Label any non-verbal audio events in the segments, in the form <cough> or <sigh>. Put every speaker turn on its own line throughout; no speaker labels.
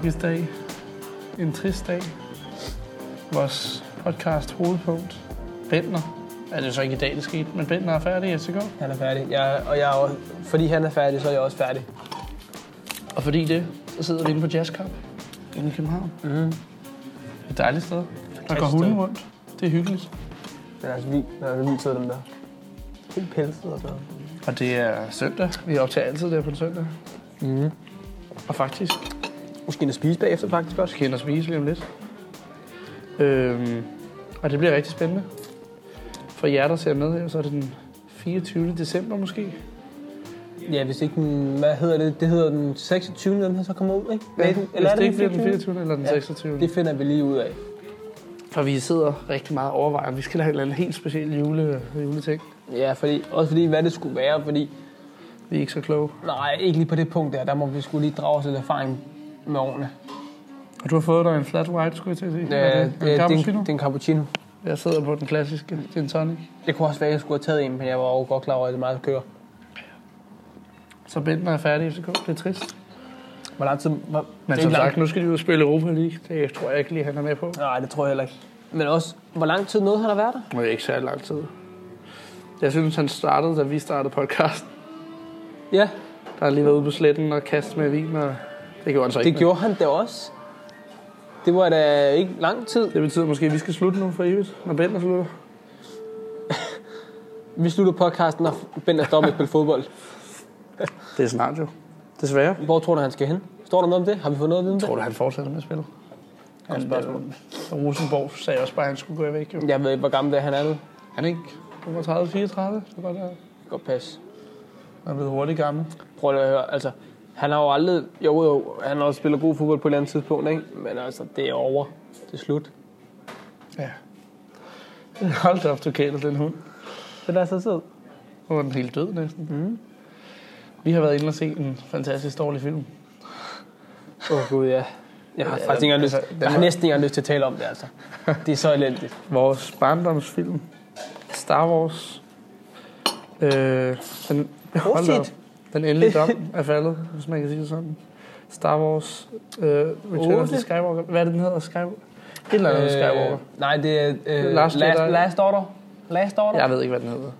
trist dag. En trist dag. Vores podcast hovedpunkt, Bentner. Ja, det er jo så ikke i dag, det skete, men Bentner er færdig i FCK.
Han er færdig. Jeg, og jeg er, jo- fordi han er færdig, så er jeg også færdig.
Og fordi det, så sidder vi inde på Jazz Cup inde i København.
Mm.
Et dejligt sted. Der går
sted.
hunden rundt. Det er hyggeligt.
Men altså, vi, der er vildt dem der. Helt pelset og sådan noget.
Og det er søndag. Vi optager altid der på en søndag. Mhm.
Mm.
Og faktisk
Måske en at spise bagefter faktisk også.
skal ind og spise lige om lidt. Øhm, og det bliver rigtig spændende. For jer, der ser med her, så er det den 24. december måske.
Ja, hvis ikke den, hvad hedder det? Det hedder den 26. den her så kommer ud, ikke?
Ja,
Eller
hvis
er
det ikke bliver den
24.?
24. eller den
Ja,
26.
Det finder vi lige ud af.
Og vi sidder rigtig meget og overvejer, om vi skal have en eller anden helt speciel jule, juleting.
Ja, fordi, også fordi, hvad det skulle være, fordi...
Vi er ikke så kloge.
Nej, ikke lige på det punkt der. Der må vi skulle lige drage os lidt erfaring med årene.
Og du har fået dig en flat white, skulle jeg til at sige. Hvad
Ja,
er
det,
det? En
Øh, det, er en-
cappuccino?
det er en cappuccino.
Jeg sidder på den klassiske gin tonic.
Det kunne også være, at jeg skulle have taget en, men jeg var jo godt klar over, at det er meget at køre.
Så Bentner er færdig i FCK. Det er trist.
Hvor lang tid... Hvor, det er
Men
ikke
som
lang-
sagt, nu skal de ud og spille Europa League. Det tror jeg ikke lige, han er med på.
Nej, det tror jeg heller ikke. Men også, hvor lang tid nåede han at være der?
Det er ikke særlig lang tid. Jeg synes, han startede, da vi startede podcasten.
Ja,
Der har lige været ude på sletten og kastet med vin, og det gjorde han så ikke.
det gjorde han da også. Det var da ikke lang tid.
det betyder måske, at vi skal slutte nu for evigt, når Bentner slutter.
Vi slutter podcasten, og Bent er stoppet med at spille fodbold.
Det er snart jo. Desværre.
Hvor tror du, han skal hen? Står der noget om det? Har vi fået noget at vide om det?
Tror du, han fortsætter med at spille?
Godt spørgsmål.
Øh, Rosenborg sagde også bare, at han skulle gå væk. Jo.
Jeg ved ikke, hvor gammel det er, han er nu.
Han er ikke 35, 34. Det var der.
Godt pas.
Han er blevet hurtigt gammel.
Prøv lige at høre, altså... Han har jo aldrig... Jo, jo, han har også spillet god fodbold på et eller andet tidspunkt, ikke? Men altså, det er over. Det er slut.
Ja. Hold da op, du kæler den hund.
Det er så sød.
Nu var den helt død næsten. Mm. Vi har været inde og se en fantastisk dårlig film.
Åh, oh, gud, ja. Jeg har
Ja,
faktisk ikke engang lyst,
altså, den
jeg har
var-
næsten ikke engang lyst til at tale om det, altså. Det er så elendigt.
Vores barndomsfilm. Star Wars. Øh, den, hold da op.
Prosit.
den endelige dom er faldet, hvis man kan sige det sådan. Star Wars. Øh, Return of the
Otte.
Skywalker. Hvad er det, den hedder? Skywalker? Et eller andet øh, Skywalker.
Øh, nej, det er øh,
Last
Last,
Jedi.
Last, Last Order. Last Order.
Jeg ved ikke, hvad den hedder.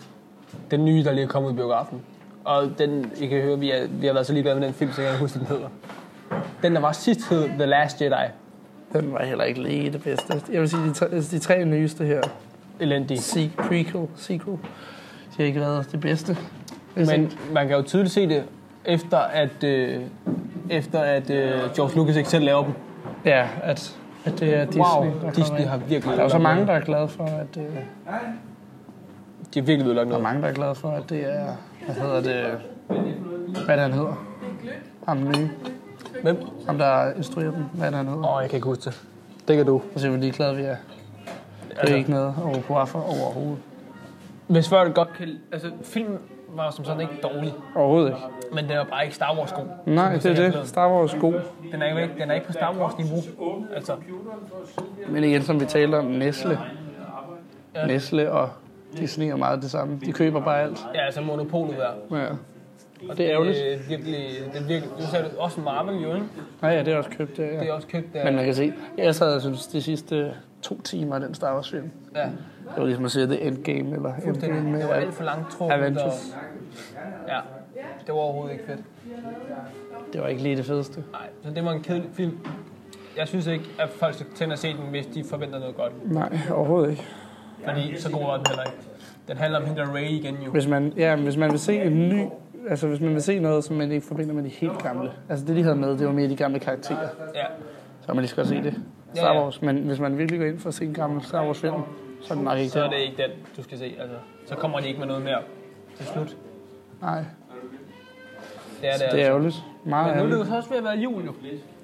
Den nye, der lige er kommet ud i biografen. Og den, I kan høre, vi, er, vi har været så ligeglade med den film, så jeg kan ikke huske, hvad den hedder. Den, der var sidst, hed The Last Jedi.
Den var heller ikke lige det bedste. Jeg vil sige, de tre, de tre nyeste her,
Elendig.
se, prequel, sequel, de har ikke været det bedste. Hvis ikke-
Men man kan jo tydeligt se det, efter at, øh, efter at øh, George Lucas ikke selv laver dem.
Ja, at, at det er Disney.
Wow,
der
Disney
kommer
har
ind.
virkelig
Der er jo så
ødelagt
mange,
noget.
der er glade for, at det,
De har virkelig ødelagt
der er
noget.
mange, der er glade for, at det er, hvad hedder det, hvad er det, han hedder? Ham den nye,
Hvem?
ham der instruerer dem, hvad er det, han hedder?
Åh, oh, jeg kan ikke huske det. Det kan du.
Og se, hvor ligeglade vi er. Det er
Altså-
ikke noget over på for overhovedet.
Hvis folk godt kan... Altså, filmen var som sådan ikke dårlig,
Overhovedet ikke.
men den var bare ikke Star Wars-god.
Nej, det er det. Star Wars er god.
Den er, jo ikke, den er ikke på Star Wars-niveau. Altså,
Men igen, som vi talte om, Nestle. Nestle og Disney er meget det samme. De køber bare alt.
ja, altså monopolet der.
Ja.
Og
Det er ærgerligt.
Det er virkelig... Det er virkelig nu sagde du også Marvel jo, ikke?
Nej, ja, det er også købt, det,
Det
ja.
er også købt øh, der.
Men man kan se, jeg sad og synes, de sidste øh, to timer af den Star Wars film,
ja,
det var ligesom at se The Endgame, eller Endgame
den,
med
det var alt for langt tråd.
øh, Avengers.
Ja, det var overhovedet ikke fedt.
Det var ikke lige det fedeste.
Nej, så det var en kedelig film. Jeg synes ikke, at folk skal tænde at se den, hvis de forventer noget godt.
Nej, overhovedet ikke.
Fordi så god var den heller ikke. Den handler om hende der Ray igen jo.
Hvis man, ja, men hvis man vil se en ny, altså hvis man vil se noget, som man ikke forbinder med de helt gamle. Altså det, de havde med, det var mere de gamle karakterer.
Ja.
Så kan man lige skal se det.
Ja,
Star
ja.
Wars. Men hvis man virkelig går ind for at se en gammel Star Wars film, så er det nok ikke
Så er
det.
det ikke den, du skal se. Altså, så kommer de ikke med noget mere til slut.
Nej,
Det er det,
det er
altså.
ærgerligt. Meget
Men nu er det jo
ærgerligt.
så også ved at være jul jo.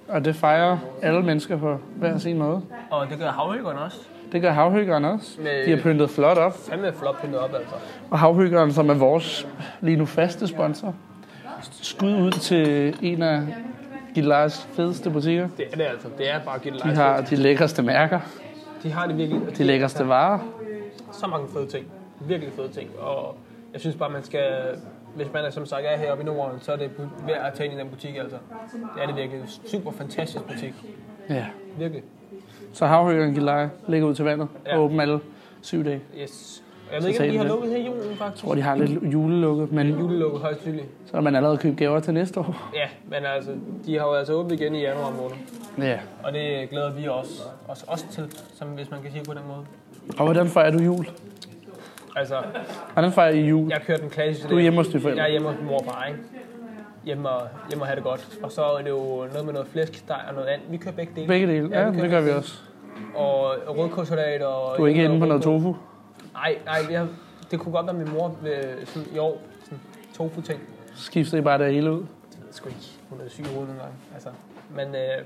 Og det fejrer alle mennesker på hver sin måde.
Og det gør havøkkerne også.
Det gør havhyggeren også.
Med-
De har pyntet flot op.
Fandme flot pyntet op, altså.
Og havhyggeren, som er vores lige nu faste sponsor. Skud ud til en af Gilars fedeste butikker.
Det er det altså. Det er bare Gitte
De
Leis.
har de lækreste mærker,
de har det virkelig.
de lækreste varer.
Så mange fede ting. Virkelig fede ting. Og jeg synes bare, man skal hvis man er, som sagt er heroppe i Norden, så er det bu- værd at tage ind i den butik, altså. Det er det virkelig. Super fantastisk butik.
Ja.
Virkelig.
Så havhøjen Gilleleje ligger ud til vandet ja.
Ja.
og åben alle syv dage.
Yes. Jeg
Så
ved ikke, om
sagde
de har
den det.
lukket her i julen, faktisk.
Jeg tror, de har lidt julelukket, men
Julelukket højst tydeligt.
så har man allerede købt gaver til næste år.
Ja, men altså, de har jo altså åbent igen i januar måned.
Ja.
Og det glæder vi os, os, os til, som hvis man kan sige det på den måde.
Og hvordan fejrer du jul?
Altså,
Hvordan fejrer I jul?
jeg kører den klassiske...
Du er hjemme hos dine
Jeg
forældre.
er hjemme hos min mor og far, ikke? Hjemme og, hjemme og have det godt. Og så er det jo noget med noget flæskesteg og noget andet. Vi kører begge dele.
Begge dele. Ja,
vi
det gør vi også.
Og rødkålssalat og...
Du er ikke inde på noget tofu.
Nej, nej, vi har, det kunne godt være min mor øh, sådan, i år. Sådan tofu-ting.
Skifter I bare det hele ud.
Det ved jeg sgu ikke. Hun er syg i hovedet nogle gange. Altså. Men øh,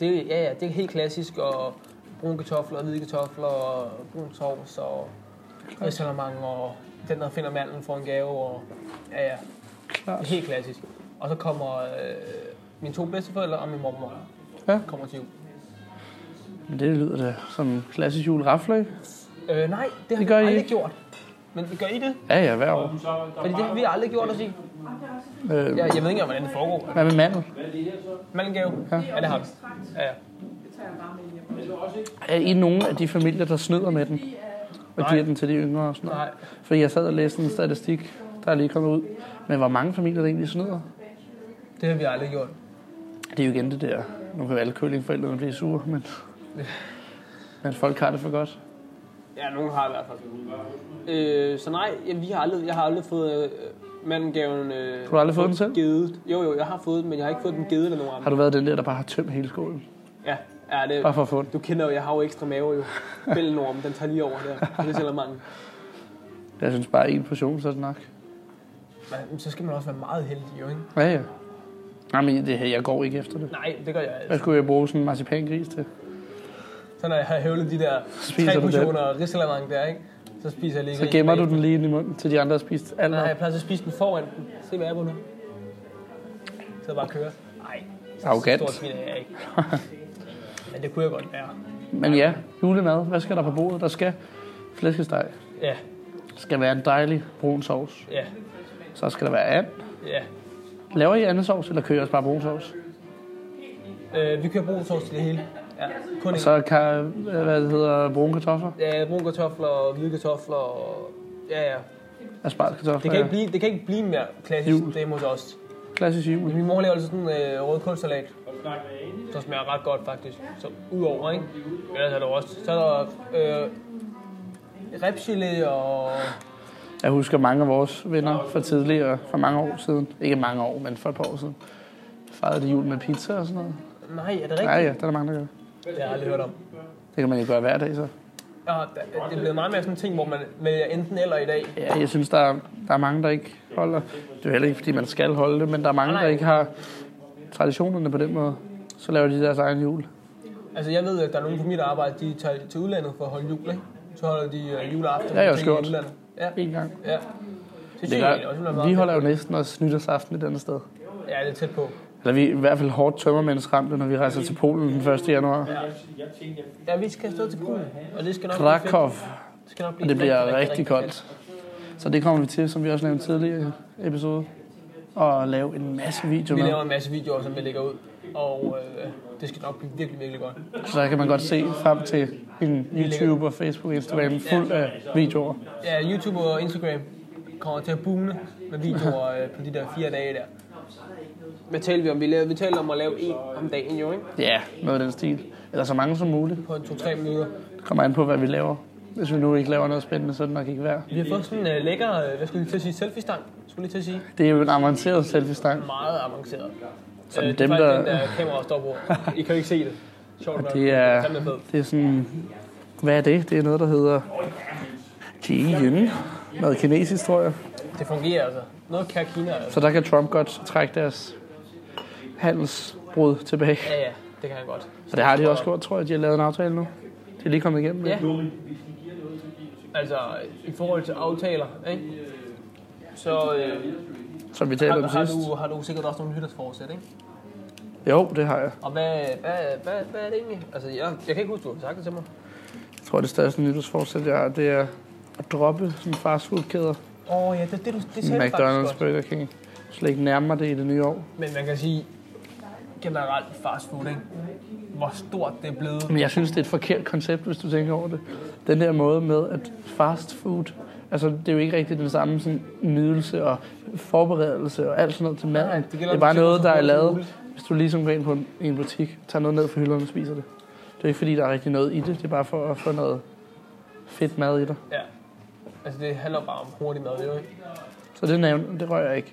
det, ja, ja, det er helt klassisk, og brune kartofler og hvide kartofler og brun sovs og risalamang og den, der finder manden, får en gave. Og, ja, ja,
Klart.
helt klassisk. Og så kommer øh, mine to bedsteforældre og min mormor.
Ja.
Kommer til jul.
Men det lyder da som en klassisk jul rafler, ikke?
Øh, nej, det har
Det gør I
vi aldrig
ikke.
gjort. Men gør I det?
Ja, ja, hver år.
Fordi det har vi aldrig gjort os i.
Øh,
Jeg, jeg ved ikke, engang, hvordan det foregår.
hvad med mandel?
Mandengave?
Ja.
Ja, det har vi. Ja, ja.
Er I nogen af de familier, der snyder med den? Og
Nej.
giver den til de yngre og sådan noget?
Nej.
For jeg sad og læste en statistik, der er lige kommet ud. Men hvor mange familier, der egentlig snyder?
Det har vi aldrig gjort.
Det er jo igen det der. Nu kan jo alle køllingforældrene blive sure, men... Men folk har det for godt.
Ja, nogen har i hvert fald. Øh, så nej, ja, vi har aldrig, jeg har aldrig fået øh, mandengaven... Øh,
Du har aldrig fået den selv?
Givet. Jo, jo, jeg har fået den, men jeg har ikke fået den givet eller nogen
Har
andre.
du Ah. været den der, der bare har tømt hele skolen?
Ja, ja
Bare
det,
for at få den?
du kender jo, jeg har jo ekstra mave jo. Bællenorm, den tager lige over der. Det sælger mange.
Jeg synes bare, en portion, så er det nok.
Men så skal man også være meget heldig jo, ikke?
Ja, ja. Nej, men det her, jeg går ikke efter det.
Nej, det gør jeg
Hvad
altså.
skulle jeg bruge sådan en marcipangris til?
Så når jeg har høvlet de der
Spiser
tre
du den?
portioner risalamang der, ikke? Så spiser jeg lige
Så gemmer du den lige ind i munden, til de andre har spist alt
Nej,
op.
jeg plejer at spise den foran den. Se, hvad jeg er på nu. Så bare køre. Nej,
Arrogant.
stor svin er jeg ikke. Men det kunne jeg godt være.
Men ja, julemad. Hvad skal der på bordet? Der skal flæskesteg.
Ja,
Der skal være en dejlig brun sovs.
ja,
Så skal der være and.
ja.
Laver I anden sovs, eller kører I også bare brun sovs?
Øh, vi kører brun sovs til det hele. Ja, kun
Og
en.
så kan, hvad det hedder, brune kartofler.
Ja, brune kartofler og hvide kartofler og... Ja, ja.
Asparges kartofler.
Det kan, ikke blive, det kan ikke blive mere klassisk,
Jul.
jul. det er hos os.
Klassisk jul.
Min mor laver altså sådan en øh, rødkålsalat, som smager ret godt faktisk. Så udover, ikke? Men ellers er der jo også... Så er der øh, ribsgelé og...
Jeg husker mange af vores venner fra tidligere, for mange år siden. Ikke mange år, men for et par år siden. Fejrede de jul med pizza og sådan noget.
Nej, er det rigtigt?
Nej, ja, der er der mange, der gør.
Det har jeg aldrig hørt om.
Det kan man jo gøre hver dag, så.
Ja, der- det er blevet meget mere sådan en ting, hvor man vælger enten eller i dag.
Ja, jeg synes, der er, der er mange, der ikke holder. Det er jo heller ikke, fordi man skal holde det, men der er mange,
Nej,
der
nej.
ikke har traditionerne på den måde. Så laver de deres egen jul.
Altså jeg ved, at der er nogen på mit arbejde, de tager til udlandet for at holde jul, ikke? Så holder de øh, juleaften.
Ja, ja,
og ting i
skørt.
udlandet. Ja,
En gang.
ja. Det synes
Det
jeg egentlig også,
gør, vi holder jo næsten også nytårsaften et andet sted.
Ja, det er tæt på.
Eller vi er i hvert fald hårdt tømmermændsramte, når vi rejser til Polen den 1. januar.
Ja, vi skal afsted til Polen, og det skal nok blive
Krakow,
fedt. Det skal nok blive
og det
rigtig,
bliver rigtig koldt. Så det kommer vi til, som vi også nævnte tidligere i episode. Og lave en masse video
fedt. Vi laver
med.
en masse videoer, som vi lægger ud, og øh, det skal nok blive virkelig, virkelig godt.
Så der kan man godt se frem til en YouTube og Facebook og Instagram fuld af videoer.
Ja, YouTube og Instagram kommer til at boome med
<laughs>
videoer øh, på de der fire dage der. Hvad talte vi om? Vi, lavede, vi talte om at lave en om dagen jo, ikke?
Ja, noget af den stil. Eller så mange som muligt.
På en to-tre minutter.
Det kommer an på, hvad vi laver. Hvis vi nu ikke laver noget spændende, så er det nok ikke værd.
Vi har fået sådan en uh, lækker, øh, hvad skulle jeg lige til at sige, selfie-stang, skulle jeg lige til at sige.
Det er jo en avanceret selfie-stang.
Meget avanceret.
Så
Øh,
dem,
det er faktisk
der-
den der kamera, der står på. I kan jo ikke se det. Sjovt nok.
Det er,
Fandme fed.
det er sådan... Hvad er det? Det er noget, der hedder... Kiyin. Noget kinesisk, tror jeg.
Det fungerer altså. Noget kære Kina, altså.
Så der kan Trump godt trække deres handelsbrud tilbage.
Ja, ja, det kan han godt.
Og det har de også gjort, tror jeg. De har lavet en aftale nu. Det er lige kommet igennem.
Ja. Altså, i forhold til aftaler, ikke? Så øh,
Som vi talte
har,
om
har,
sidst.
du, har du sikkert også nogle nytårsforsæt, ikke?
Jo, det har jeg.
Og hvad, hvad, hvad, hvad er det egentlig? Altså, jeg, jeg kan ikke huske, du har sagt det til mig.
Jeg tror, det største nytårsforsæt, jeg har, det er at droppe sådan fastfoodkæder.
Åh oh, ja, det, det, du- det sagde du
McDonald's,
faktisk godt.
Burger King. Slet ikke nærmere det i det nye år.
Men man kan sige, generelt fast food, ikke? hvor stort det er blevet.
Men jeg synes, det er et forkert koncept, hvis du tænker over det. Den der måde med, at fast food, altså det er jo ikke rigtig den samme sådan, nydelse og forberedelse og alt sådan noget til mad.
Nej, det
det,
gælder
det er
om,
bare
at det
noget,
går
der
så
er
hurtigt som
lavet,
muligt.
hvis du ligesom går ind på en, i en butik, tager noget ned fra hylderne og spiser det. Det er ikke fordi, der er rigtig noget i det, det er bare for at få noget fedt mad i dig.
Ja. Altså det handler bare om hurtig mad, jo ikke?
Så det nævner, det rører jeg ikke.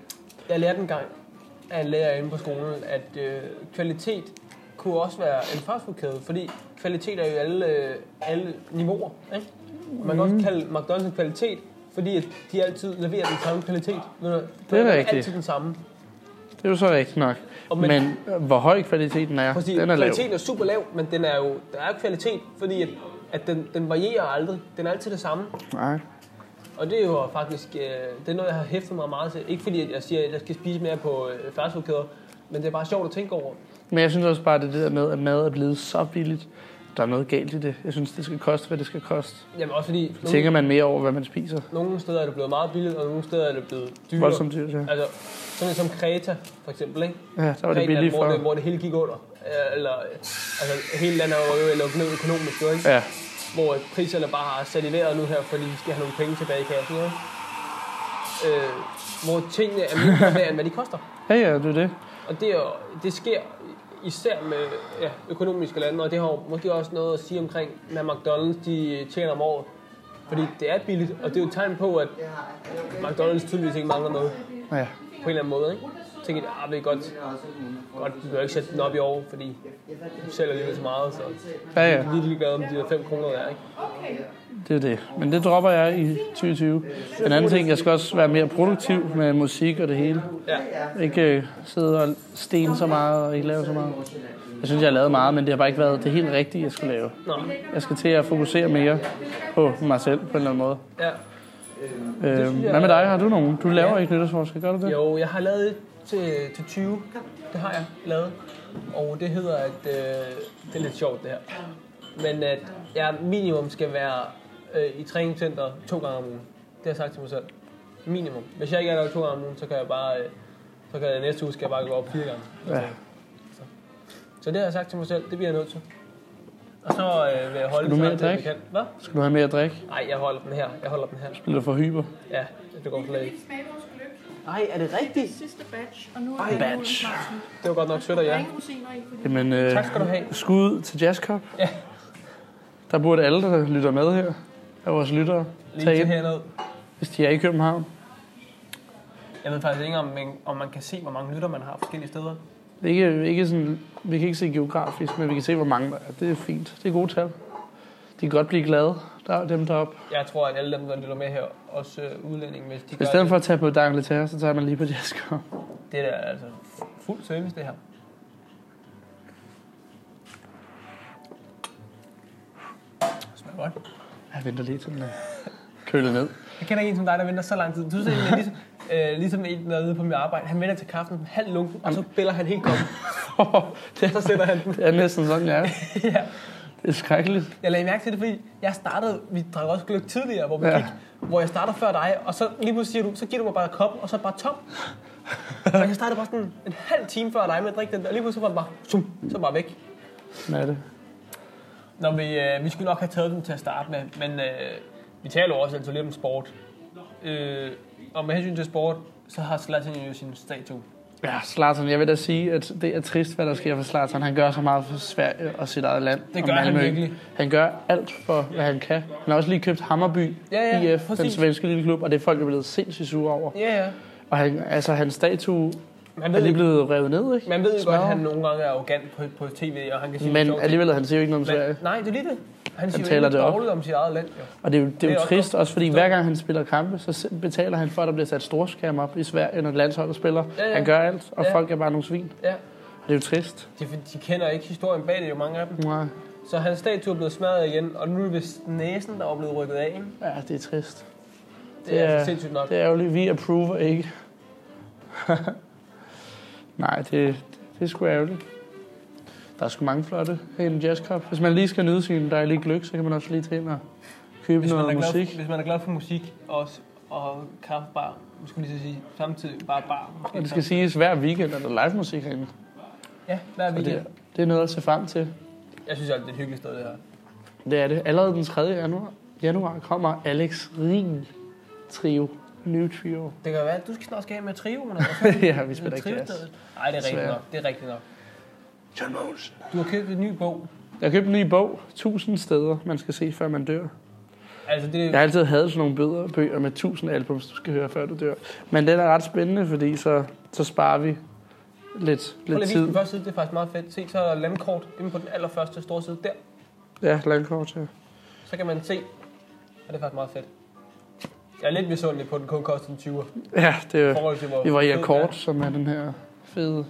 Jeg lærte engang af en lærer inde på skolen, at øh, kvalitet kunne også være en fastfoodkæde, fordi kvalitet er jo i alle, øh, alle niveauer. Ikke? Man kan
Mm.
også kalde McDonald's en kvalitet, fordi at de altid leverer den samme kvalitet. Ved du,
da rigtigt.
altid den samme.
Det er jo så rigtigt nok.
Og
Men,
men-
men øh, hvor høj kvaliteten er,
Fordi
den er lav.
kvaliteten er super lav, men den er jo, der er kvalitet, fordi at, at den, den varierer aldrig. Den er altid det samme.
Nej.
Og det er jo faktisk øh, det er noget, jeg har hæftet mig meget til. Ikke fordi at jeg siger, at jeg skal spise mere på øh, fastfoodkæder, men det er bare sjovt at tænke over.
Men jeg synes også bare, det der med, at mad er blevet så billigt, der er noget galt i det. Jeg synes, det skal koste, hvad det skal koste.
Jamen også fordi
Tænker
nogle,
man mere over, hvad man spiser?
nogle steder er det blevet meget billigt, og nogle steder er det blevet dyrere.
Voldsomt dyrt, ja.
Altså sådan noget som Kreta for eksempel, ikke?
Ja, der var det
Grækenland,
billigt
hvor, det,
for.
hvor det hele gik under. Øh, Eller, øh, altså, hele landet var jo lukket ned økonomisk, jo, ikke?
Ja,
hvor at priserne bare har sat i vejret nu her, fordi de skal have nogle penge tilbage i kassen. Ikke? Øh, hvor tingene er mindre værd, end hvad de koster.
ja, ja det er det.
Og det, er jo- det sker især med ja, økonomiske lande, og det har jo måske også noget at sige omkring, hvad McDonald's de øh, tjener om året. Fordi det er billigt, og det er jo et tegn på, at McDonald's tydeligvis ikke mangler noget
Ja.
på en eller anden måde. Ikke? Så tænker de, ah, det er godt, godt, vi behøver ikke sætte den op i år, fordi du sælger alligevel så meget, så
ja,
vi
ja,
er lidt ligeglade om de der 5 kroner der, ikke?
det er det. Men det dropper jeg i 2020. En anden ting, jeg skal også være mere produktiv med musik og det hele.
Ja.
Ikke øh, sidde og stene så meget og ikke lave så meget. Jeg synes, jeg har lavet meget, men det har bare ikke været det helt rigtige, jeg skulle lave.
Nå,
Jeg skal til at fokusere mere på mig selv på en eller anden måde.
ja.
Øh,
synes jeg-
hvad med dig? Har du nogen? Du laver
Ja.
ikke nytårsforsker, gør du det?
Jo, jeg har lavet et til, til 20. Det har jeg lavet. Og det hedder, at øh, det er lidt sjovt det her. Men at jeg minimum skal være øh, i træningscenter to gange om ugen. Det har jeg sagt til mig selv. Minimum. Hvis jeg ikke er der to gange om ugen, så kan jeg bare... Øh, så kan jeg næste uge skal jeg bare gå op fire gange.
Ja.
Så det har jeg sagt til mig selv. Det bliver jeg nødt til. Og så øh, vil jeg holde
Skal du
så
med
langt,
at
jeg
drikke?
kan. Hvad?
Skal du have mere at drikke?
Nej, jeg holder den her. Jeg holder den her.
Bliver du for hyper?
Ja, det går slet ikke.
ikke smage vores gløk.
Nej, er det
Det
rigtigt?
sidste batch, og nu er
Ej,
der
batch.
Det var godt nok sødt af
Der er
jer.
ingen rosiner i, fordi
Jamen, øh,
Tak skal du have.
Skud til Jazzcop.
Ja.
Der burde alle, der lytter med her, af vores lyttere,
Lige
tage
til
ind,
herned.
hvis de er i København.
Jeg ved faktisk ikke, om man, om man kan se, hvor mange lytter man har forskellige steder.
Det er Ikke, ikke sådan, vi kan ikke se geografisk, men vi kan se, hvor mange der er. Det er fint. Det er gode tal. De kan godt blive glade, der er dem deroppe.
Jeg tror, at alle dem, der lytter med her, også øh, udlændinge, hvis de
I
gør
stedet for at tage på D'Angleterre, så tager man lige på Jazzcop.
det, det er da altså fuld service, det her. Det smager godt.
Jeg venter lige til den er kølet ned.
Jeg kender en som dig, der venter så lang tid. Du synes, egentlig, ligesom,
<laughs>
øh, ligesom en, der er nede på mit arbejde. Han venter til kaffen halv lunken, og så biller han helt koppen.
<laughs> det,
Så sætter
<laughs>
han den.
det er næsten sådan, jeg er.
ja.
Det er skrækkeligt.
Jeg lagde mærke til det, fordi jeg startede, vi drak også gløk tidligere, hvor vi
Ja.
ja. gik, hvor jeg starter før dig, og så lige pludselig siger du, så giver du mig bare kop, og så bare tom. og jeg startede bare sådan en halv time før dig med at drikke den, der, og lige pludselig var den bare, sum, så bare væk.
Sådan er det.
Nå, vi, øh, vi skulle nok have taget dem til at starte med, men øh, vi taler jo også altid lidt om sport. Øh, og med hensyn til sport, så har Zlatan jo sin statue.
Ja, Zlatan, jeg vil da sige, at det er trist, hvad der sker for Zlatan. Han gør så meget for Sverige og sit eget land.
Det
og
gør han
Malmø.
virkelig.
Han gør alt for, hvad han kan. Han har også lige købt Hammerby
Ja, ja,
IF, den
præcis.
svenske lille klub, og det er folk, der er blevet sindssygt sure over.
Ja, ja.
Og han, altså, hans statue
Man
er
ved,
lige
jo-
blevet revet ned, ikke?
man ved jo godt,
Smadret.
at han nogle gange er arrogant på, på tv, og han kan sige
Men
sjove ting.
alligevel, han siger jo ikke noget om Sverige.
Men, nej, det er lige det. Han siger
taler
jo
det
ikke
op.
dårligt om sit eget land. Jo.
Og det er jo, det er
det er
jo
også
trist, også fordi hver gang han spiller kampe, så se- betaler han for, at der bliver sat storskærm op i Sverige, når landsholdet spiller.
Ja, ja.
Han gør alt, og
Ja.
folk er bare nogle svin.
Ja.
Og det er jo trist.
De, de kender ikke historien bag det, jo mange af dem.
Nej.
Så hans statue er blevet smadret igen, og nu er det vist næsen, der er blevet rykket af. Ikke? Det,
Ja, det er trist.
det er altså sindssygt nok.
Det er ærgerligt. Vi approver ikke. <laughs> Nej, det, det er sgu ærgerligt. Der er sgu mange flotte herinde i Jazz Cup. Hvis man lige skal nyde sin dejlige gløk, så kan man også lige tage ind og købe
Hvis man, er
noget
glad,
musik.
hvis man er glad for musik, og også og kaffebar, skulle jeg lige så sige, samtidig bare bar. Måske
Og det skal siges, hver weekend er der live musik herinde.
Ja, hver
Og
weekend.
det, det er noget at se frem til.
Jeg synes altid, det er et hyggeligt sted, det her.
Det er det. Allerede den 3. januar, januar kommer Alex Rien Trio. New Trio. <laughs>
Det kan være, at du skal snart skal have med trioen, eller sådan
ja, vi spiller ikke jazz.
Nej, det er rigtigt
Desværre.
nok. Det er rigtigt nok.
John Mogensen.
Du har købt en ny bog.
Jeg købte en ny bog, 1000 steder, man skal se, før man dør.
Altså, det er
Jeg har altid hadet sådan nogle bøger, bøger med 1000 albums, du skal høre, før du dør. Men den er ret spændende, fordi så, så sparer vi lidt,
Prøv lige
lidt
at vise
tid.
den første side, det er faktisk meget fedt. Se, så er der landkort inde på den allerførste store side der.
Ja, landkort her.
Så kan man se, og det er faktisk meget fedt. Jeg er lidt misundelig på, at den kun koster en 20'er.
Ja, det
I
er,
forhold til, hvor
vi var i
fed den er.
Akkord, som er den her fede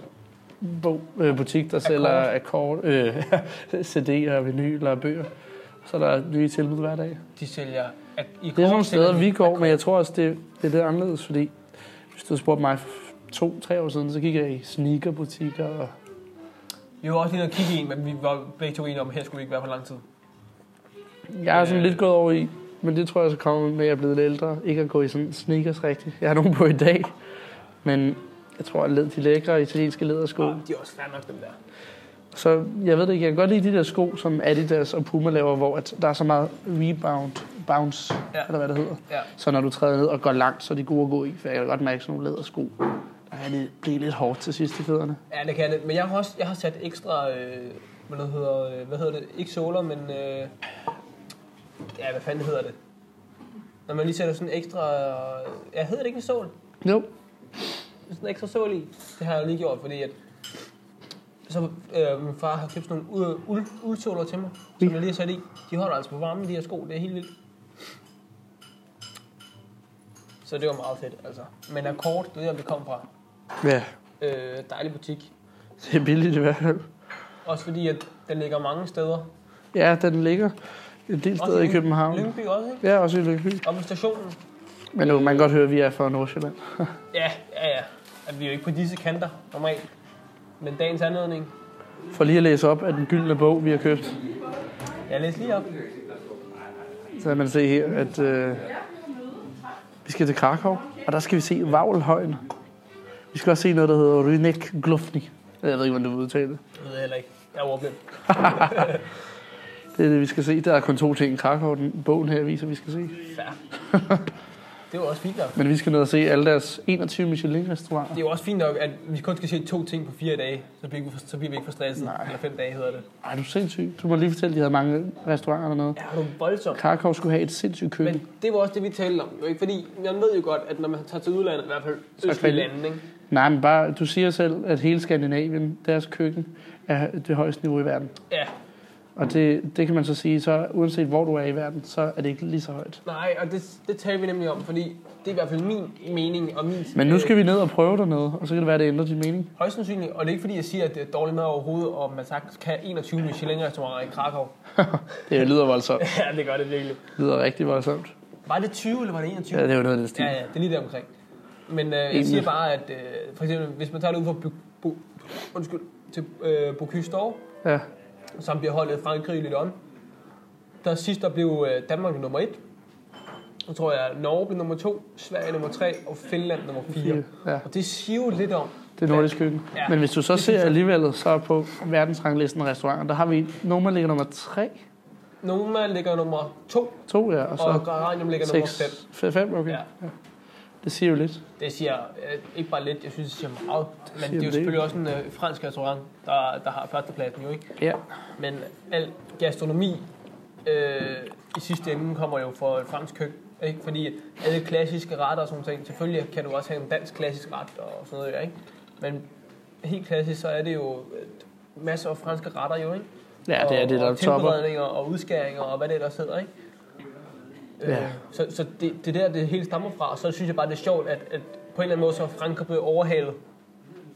bog, øh, butik, der sælger akkord, øh, <laughs> CD'er, vinyler og bøger. Så er der nye tilbud hver dag.
De sælger... At
Det
i
er sådan nogle
Kort sælger
steder,
de
vi går,
Akkord.
men jeg tror også, det, det er lidt anderledes, fordi hvis du spurgte mig for to-tre år siden, så gik jeg i sneakerbutikker og
Vi var også lige nede og kigge i en, men vi var begge to enige om, at her skulle vi ikke være for lang tid.
Jeg er sådan
Øh.
lidt gået over i, men det tror jeg så kommer med, at jeg er blevet lidt ældre. Ikke at gå i sådan sneakers rigtigt. Jeg har nogen på i dag, men jeg tror, at led- de lækre italienske lædersko.
Ah, de er også fair nok, dem der.
Så jeg ved det ikke, jeg kan godt lide de der sko, som Adidas og Puma laver, hvor at der er så meget rebound, bounce,
Ja.
ja. eller hvad det hedder.
Ja.
Så når du træder ned og går langt, så er de gode at gå i, for jeg kan godt mærke sådan nogle lædersko. Der kan det blive lidt hårdt til sidst i fødderne.
Ja, det kan det. Men jeg har også jeg har sat ekstra, øh, hvad, det hedder, øh, hvad hedder det, ikke såler, men øh, ja, hvad fanden hedder det? Når man lige sætter sådan ekstra, øh, ja, hedder det ikke en sål?
Jo,
Sådan en ekstra sål i. Det har jeg jo lige gjort, fordi at så øh, min far har købt sådan nogle uld- uld, uldsåler til mig, som jeg lige har sat i. De holder altså på varmen, de her sko. Det er helt vildt. Så det var meget fedt, altså. Men akkord, det er der, det kom fra.
ja,
Øh, dejlig butik.
det er billigt i hvert fald.
Også fordi, at den ligger mange steder.
Ja, den ligger en del steder i
Lyng-
København.
Lyngby også, ikke?
Ja, også i Lyngby.
Og på stationen.
Men nu, man kan godt høre, at vi er fra Nordsjælland.
Ja, ja, ja. At vi er jo ikke på disse kanter normalt. Men dagens anledning.
For lige at læse op af den gyldne bog, vi har købt,
Jeg læser lige op.
så kan man se her, at øh, vi skal til Krakow, og der skal vi se Vaglhøjen. Vi skal også se noget, der hedder Rynek Glufni. Jeg ved ikke, hvordan du udtaler det.
Det ved jeg heller ikke. Jeg er ordblind.
Det er det, vi skal se. Der er kun to ting i Krakow, den bogen her viser, vi skal se.
Fair. <laughs> Det er jo også fint nok.
Men vi skal ned og se alle deres 21 Michelin-restauranter.
Det er jo også fint nok, at vi kun skal se to ting på fire dage, så bliver vi, for, så bliver vi ikke for stresset.
Nej.
Eller fem dage hedder det.
Ej, du er sindssyg. Du må lige fortælle, at de havde mange restauranter dernede.
Ja, det er voldsomt.
Krakow skulle have et sindssygt køkken.
Men det var også det, vi talte om. Jo, ikke? Fordi man ved jo godt, at når man tager til udlandet, i hvert fald østlige
kan-
lande, ikke?
Nej, men bare, du siger selv, at hele Skandinavien, deres køkken, er det højeste niveau i verden.
Ja,
Og det, det kan man så sige, så uanset hvor du er i verden, så er det ikke lige så højt.
nej, og det, det taler vi nemlig om, fordi det er i hvert fald min mening og min...
Men nu
øh,
skal vi ned og prøve dernede, og så kan det være, at det ændrer din mening.
Højst sandsynligt, og det er ikke fordi, jeg siger, at det er dårlig mad overhovedet, og man sagtens kan have 21 Michelin-restauranter i Krakow.
Det lyder voldsomt.
<laughs> ja, det gør det virkelig.
Det lyder rigtig voldsomt.
Var det 20, eller var det 21?
Ja, det er jo noget af den stil.
ja, ja det er lige der omkring. Men øh, jeg
Enig.
siger bare, at øh, for eksempel, hvis man tager det ud fra Bu, Bu, undskyld, til øh, Bocuse d'Or,
Ja.
som bliver holdt i Frankrig i Lyon, der sidst der blev øh, Danmark nummer 1. Så tror jeg, Norge blev nummer 2, Sverige nummer 3 og Finland nummer 4.
ja.
Og det siger jo lidt om,
Det er nordisk køkken.
Ja.
Men hvis du så
Det synes
ser
jeg.
alligevel så på verdensranglisten af restauranter, der har vi Noma ligger nummer 3,
Noma ligger nummer 2,
2 ja, og
og
så
Geranium ligger nummer 5.
6, 5, okay.
Ja.
Ja. Det siger jo lidt.
Det siger øh, ikke bare lidt, jeg synes, det siger meget. Men det er
siger
jo
lidt.
selvfølgelig også en øh, fransk restaurant, der, der har førstepladsen jo ikke.
Ja.
Men al gastronomi øh, i sidste ende kommer jo fra et fransk køkken. Ikke? Fordi alle klassiske retter og sådan nogle ting, selvfølgelig kan du også have en dansk klassisk ret og sådan noget, ikke? Men helt klassisk, så er det jo øh, masser af franske retter jo, ikke?
Ja, det er det,
og,
der
og
topper.
tilberedninger og udskæringer og hvad det ellers hedder, ikke? Øh,
Ja.
Så, så det, det er der, det hele stammer fra, og så synes jeg bare, det er sjovt, at, at på en eller anden måde, så er Frankrig blevet overhalet.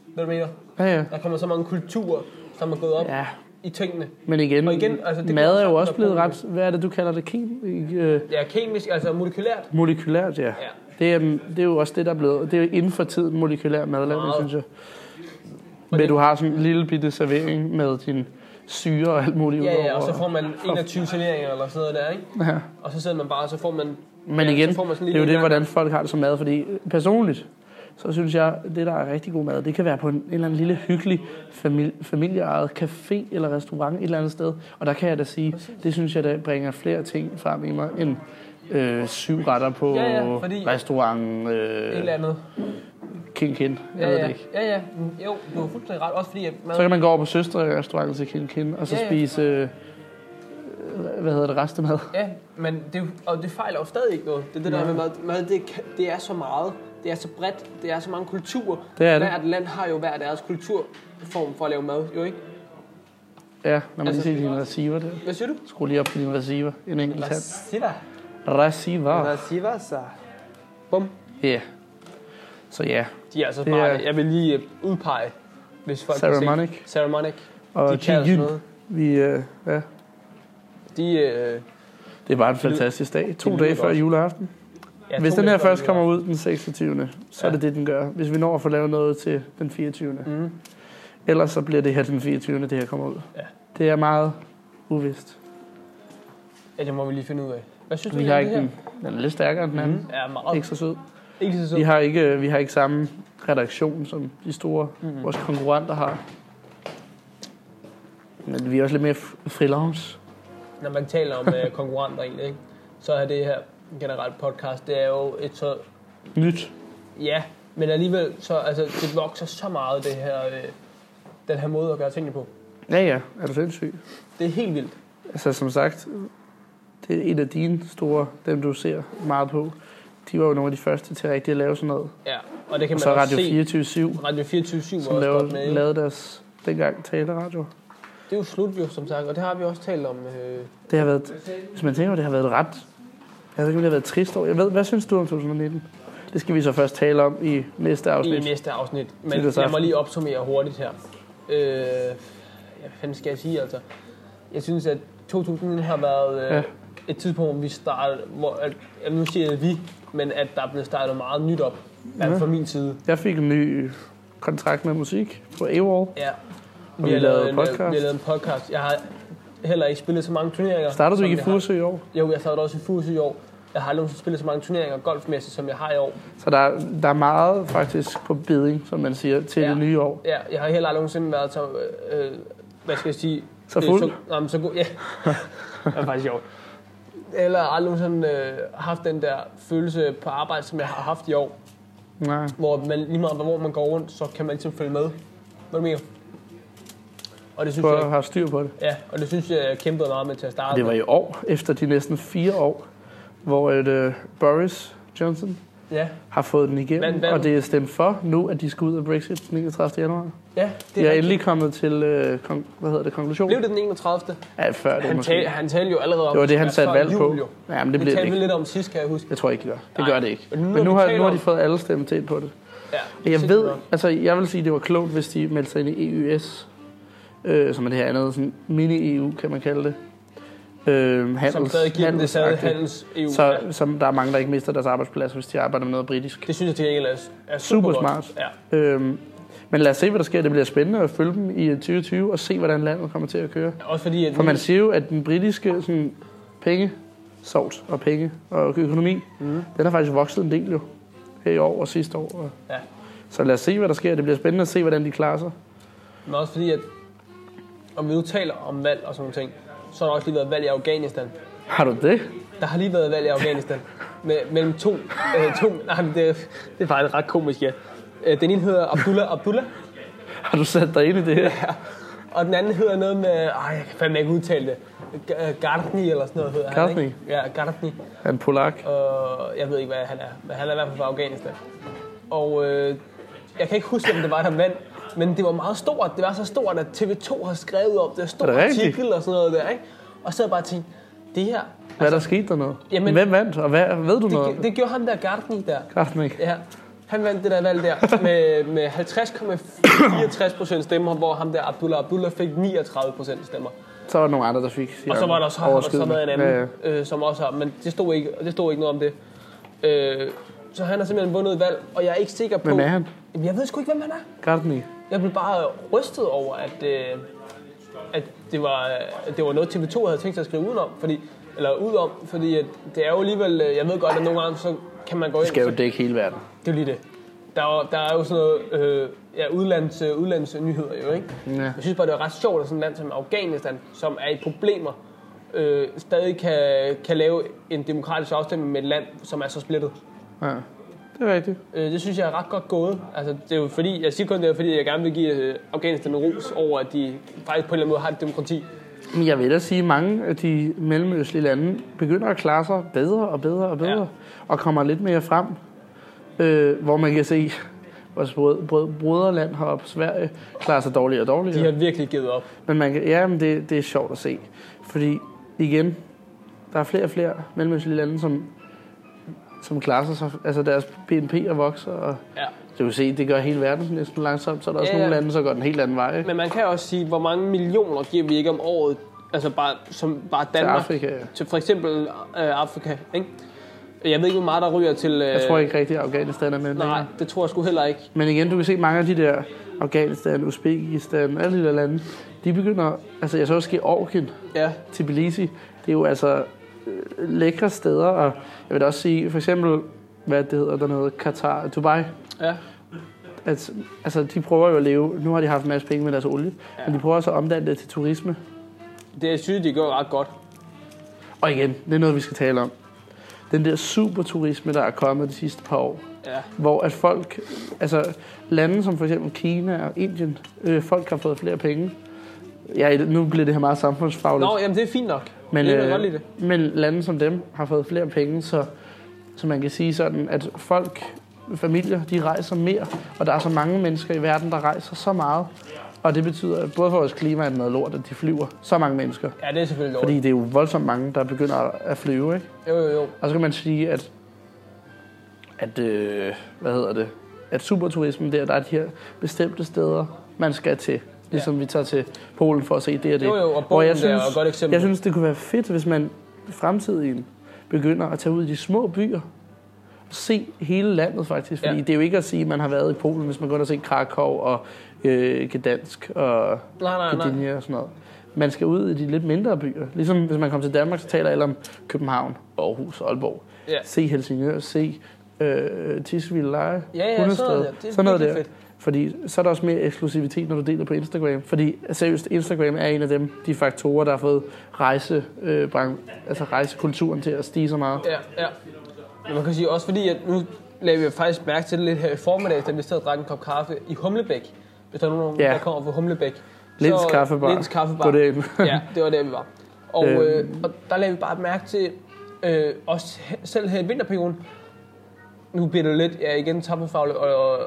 Ved du, hvad jeg mener?
Ja, ja.
Der kommer så mange kulturer, som er gået op ja.
Ja,
i tingene.
men igen,
Og igen, altså, det
mad
går
er jo
sammen
også
og
blevet
bruger
ret, hvad er det, du kalder det, kem, øh,
Ja, kemisk, altså molekylært.
molekylært, ja.
Ja.
Det er, det er jo også det, der er blevet... Det er jo inden for tiden molekylær madlavning,
Meget.
synes jeg. Men du har sådan en lille bitte servering med din syre og alt muligt.
Ja, ja,
udover-
og så får man 21 serveringer eller sådan noget der, ikke?
ja.
Og så sidder man bare, og så får man...
Men
ja,
igen,
så får man sådan
det er
lige
jo det,
en gang.
hvordan folk har det som mad, fordi personligt, så synes jeg, det der er rigtig god mad, det kan være på en, en eller anden lille hyggelig famil- familieejet café eller restaurant et eller andet sted. Og der kan jeg da sige, det synes jeg, der bringer flere ting frem i mig, end øh, syv retter på
Ja, ja, fordi-
restaurant
Et
øh,
eller andet.
Kin Kin. Jeg
Ja,
ved det
ja.
ikke.
ja, ja. Mm, Jo, du har fuldstændig ret. Også fordi, at man,
Så kan man gå over på søsterrestauranten til Kin Kin, og så
Ja, ja.
spise, øh, hvad hedder det, restemad.
ja, men det, er jo- og det fejler jo stadig ikke noget. Det, er det der med mad, mad det, kan- det er så meget. Det er så bredt. Det er så mange kulturer.
Det er det.
Hvert land har jo hver deres kulturform for at lave mad, jo ikke?
Ja, når man altså,
Altså,
ser din receiver der.
Hvad siger du?
Skru lige op på din receiver, en enkelt tand.
Siva.
Receiver.
Siva, så. Bum.
Ja. Yeah. Så ja,
De er så
Det
smarte.
er-
Jeg vil lige øh, udpege, hvis folk
Ceremonic.
kan se. Ceremonic.
Og
de kan sådan
Jin,
noget.
vi, øh, ja.
De, øh,
Det var en fantastisk dag. To
lyder
dage før
godt.
juleaften.
ja,
Hvis
to
den her
mennesker,
først
de
kommer ud den 26., så er
Ja.
det det, den gør. Hvis vi når at få lavet noget til den 24.
Mm.
Ellers så bliver det her den 24. det her kommer ud.
Ja.
Det er meget uvist.
Ja, det må vi lige finde ud af. Hvad synes du
Vi
om
har
det
ikke
her? Mhm.
den. Den er lidt stærkere end den anden.
Ja, meget.
Ikke Mm-hmm. så sød.
Ikke så sød.
Vi har ikke, øh, vi har ikke samme redaktion, som de store vores konkurrenter har. Men vi er også lidt mere f- freelance.
Når man taler om øh, konkurrenter egentlig, ikke? så er det her generelt podcast, det er jo et så...
Nyt.
Ja, men alligevel, så, altså, det vokser så meget, det her, øh, den her måde at gøre tingene på.
Ja, ja. Er du sindssyg?
Det er helt vildt.
Altså som sagt, det er en af dine store, dem du ser meget på. De var jo nogle af de første til rigtig at lave sådan noget.
Ja, og det kan
Og
man
så
også
Radio
se.
24
Radio 24 var
som
også godt
lavede,
med. Lad...
lavede deres dengang taleradio.
Det er jo slut jo, som sagt, og det har vi også talt om. Øh,
Det har været, hvis man tænker, over, det har været et ret. Jeg ved ikke, om det har været et trist år. Jeg ved, hvad synes du om 2019? Det skal vi så først tale om i næste
i
afsnit.
næste afsnit. Men
Nytårsaften.
jeg må lige opsummere hurtigt her. Øh, ja, hvad fanden skal jeg sige altså? Jeg synes, at 2000 har været øh,
Ja.
ja. et tidspunkt, hvor vi startede, hvor, at, jamen, nu siger jeg vi, men at der er blevet startet meget nyt op
Ja.
ja. fra min side.
Jeg fik en ny kontrakt med musik på AWOL.
Ja.
vi lavede
en,
podcast.
øh, vi har lavet en podcast. Jeg har heller ikke spillet så mange turneringer.
Startede du
som
ikke i
jeg har-
Furesø i år?
Jo, jeg startede også i Fuse i år. Jeg har aldrig nogensinde spillet så mange turneringer golfmæssigt, som jeg har i år.
Så der, der er meget faktisk på beding, som man siger, til ja.
Ja.
det nye år.
Ja, jeg har heller aldrig nogensinde været så, øh, øh, hvad skal jeg sige...
Så fuld?
Øh, så, nej, men så god,
<laughs>
ja. det er faktisk sjovt. Eller aldrig nogensinde øh, haft den der følelse på arbejde, som jeg har haft i år.
Nej.
Hvor man, lige meget hvor man går rundt, så kan man ligesom følge med. Hvad du mener? Og det synes
Du har
jeg,
haft styr på det.
ja, og det synes jeg, jeg kæmpede meget med til at starte.
Det var i år, efter de næsten fire år, hvor et, uh, Boris Johnson
med. Ja,
har fået den igennem,
Hvad- hvad-
og det er stemt for nu, at de skal ud af Brexit den 31. januar.
ja
De
det
er
er rigtigt.
endelig kommet til, uh, kon- hvad hedder det, konklusion?
Blev det den 31.
Ja, før det
Han,
måske.
tal, han talte jo allerede om...
Det var det,
at
han
være
satte
før
valg på.
jul, jo.
Ja, men det
Det,
blev det
talte vi
ikke.
lidt om sidst, kan jeg huske.
Jeg tror ikke, det gør. Det
Nej.
gør det ikke.
Men nu,
Men
når
nu
vi
har,
taler
nu har de
om-
fået alle stemt ind på det.
Ja,
Og Jeg
sindssygt
ved,
nok.
altså jeg vil sige, det var klogt, hvis de meldte sig ind i EUS, øh, som er det her andet sådan mini-EU, kan man kalde det. Øh, handels,
som stadig giver dem det stadig
handelsagtigt.
handels EU.
Så som der er mange, der ikke mister deres arbejdsplads, hvis de arbejder med noget britisk.
Det synes jeg til gengæld er, er super,
Super
godt.
smart.
Ja.
Øh, men lad os se, hvad der sker. Det bliver spændende at følge dem i øh, 2020 og se, hvordan landet kommer til at køre.
Også fordi, at
For man siger jo, at den britiske sådan, penge, sort og penge og økonomi,
Mhm.
den har faktisk vokset en del jo her i år og sidste år. Og...
Ja.
Så lad os se, hvad der sker. Det bliver spændende at se, hvordan de klarer sig.
men også fordi, at om vi nu taler om valg og sådan nogle ting, så har der også lige været valg i Afghanistan.
Har du det?
Der har lige været valg i Afghanistan. <laughs> Med, mellem to... Øh, to <laughs> nej, men det, det er faktisk ret komisk, ja. Øh, Den ene hedder Abdullah
<laughs>
Abdullah,
Har du sat dig ind i det her?
og den anden hedder noget med... Ej, jeg kan fandme ikke udtale det. G- øh, Gardni eller sådan noget hedder
Gardni?
han, ikke? Ja, Gardni.
Han er polak.
og jeg ved ikke, hvad han er, men han er i hvert fald fra Afghanistan. Og øh, jeg kan ikke huske, om det var der mand, men det var meget stort. Det var så stort, at TV2 har skrevet om det, og stor
Er det rigtigt?
artikel og sådan noget der, ikke? Og så havde jeg bare tænkt, det her,
Hvad er der sket dernede? Jamen,
Altså,
Hvem
jamen-
vandt, og hvad, ved du noget? om
det, det gjorde ham der Gardni der.
Carsten, ikke?
Ja, han vandt det der valg der med, med 50,64 procent stemmer, hvor ham der Abdullah Abdullah fik 39 procent stemmer.
Så var der nogle andre, der fik
Og så var der så, har der så været en anden,
Ja, ja.
øh, som også har, men det stod ikke, det stod ikke noget om det. Øh, så han har simpelthen vundet et valg, og jeg er ikke sikker på...
Hvem er han?
Jamen, jeg ved sgu ikke, hvem han er.
Carsten, ikke?
Jeg blev bare rystet over, at, øh, at det var, øh, at det var noget, TV2 havde tænkt sig at skrive udenom, fordi, eller udom, fordi at det er jo alligevel, øh, jeg ved godt, at nogle gange, så kan man gå ind...
Det skal jo
så,
dække hele verden.
det er jo lige det. Der er, jo- der er jo sådan noget, øh, ja, udlands, øh, udlandsnyheder jo, ikke?
Ja.
Jeg synes bare, det er ret sjovt, at sådan et land som Afghanistan, som er i problemer, øh, stadig kan, kan lave en demokratisk afstemning med et land, som er så splittet.
ja. Det er rigtigt.
Øh, det synes jeg er ret godt gået. Altså, det er jo fordi, jeg siger kun det er, fordi jeg gerne vil give øh, Afghanistan ros over, at de faktisk på en eller anden måde har et demokrati.
Men jeg vil da sige, at mange af de mellemøstlige lande begynder at klare sig bedre og bedre og bedre,
Ja.
ja. og kommer lidt mere frem, øh, hvor man kan se, vores brød, brød, broderland heroppe, Sverige, klarer sig dårligere og dårligere.
De har virkelig givet op.
Men man kan, ja, men det, det er sjovt at se. Fordi igen, der er flere og flere mellemøstlige lande, som, som klarer sig. Så, altså deres BNP er vokser, og
Ja.
det kan se, det gør hele verden næsten langsomt. Så er der også
Ja, ja.
nogle lande, så går den helt anden vej. Ikke?
Men man kan også sige, hvor mange millioner giver vi ikke om året, altså bare, som bare
Til
Danmark,
Afrika. ja.
til for eksempel øh, Afrika, ikke? Jeg ved ikke, hvor meget der ryger til... Øh,
Jeg tror ikke rigtig, at Afghanistan er med.
Nej,
længere.
det tror jeg sgu heller ikke.
Men igen, du kan se mange af de der Afghanistan, Uzbekistan, alle de der lande, de begynder, altså jeg så også Georgien,
Ja,
Tbilisi, det er jo altså øh, lækre steder, og jeg vil da også sige, for eksempel, hvad det hedder dernede, Katar, Dubai,
ja.
at, altså de prøver jo at leve, nu har de haft en masse penge med deres olie,
Ja.
ja. men de prøver også at omdanne det til turisme.
Det jeg synes, de gør ret godt.
Og igen, det er noget, vi skal tale om. Den der superturisme, der er kommet de sidste par år,
Ja,
hvor at folk, altså lande som for eksempel Kina og Indien, øh, folk har fået flere penge. Ja, nu bliver det her meget samfundsfagligt.
Nå, jamen det er fint nok.
Men,
det kan jeg
øh,
godt lide det.
Men lande som dem har fået flere penge, så, så man kan sige sådan, at folk, familier, de rejser mere. Og der er så mange mennesker i verden, der rejser så meget. Og det betyder, at både for vores klima er det noget lort, at de flyver så mange mennesker.
Ja, det er selvfølgelig lort.
Fordi det er jo voldsomt mange, der begynder at flyve, ikke?
Jo, jo, jo.
Og så kan man sige, at, at øh, hvad hedder det, at superturismen der, der er de her bestemte steder, man skal til. Ligesom vi tager til Polen for at se det og det.
Jo, jo, og
Hvor
Polen
jeg
der er jo
synes-
et godt eksempel.
Jeg synes, det kunne være fedt, hvis man i fremtiden begynder at tage ud i de små byer og se hele landet faktisk. Fordi
Ja.
ja. det er jo ikke at sige, at man har været i Polen, hvis man går ind og ser Krakow og øh, Gdansk og
Nej, nej, nej.
Gdynia og sådan noget. Man skal ud i de lidt mindre byer. Ligesom hvis man kommer til Danmark, så taler alle om København, Aarhus, Aalborg.
Ja.
Se Helsingør, se øh, Tisvilde Leje,
Ja, ja,
Hundested,
sådan noget der. Det er
sådan noget der.
virkelig
Fordi så er der også mere eksklusivitet, når du deler på Instagram. Fordi altså, seriøst, Instagram er en af dem, de faktorer, der har fået rejse, øh, bran- altså rejsekulturen til at stige så meget.
Ja, ja. Men man kan sige også fordi, at nu lagde vi faktisk mærke til det lidt her i formiddag, da vi stod og drak en kop kaffe i Humlebæk. Hvis der er nogen,
Ja.
der kommer fra Humlebæk.
Linds
Så-
Kaffebar.
Linds Kaffebar.
Gå derind. <laughs>
ja, det var der, vi var. Og,
Øhm.
øh, og der lagde vi bare mærke til, øh, også he- selv her i vinterperioden, nu bliver det lidt, ja igen, tappefagligt, og, og,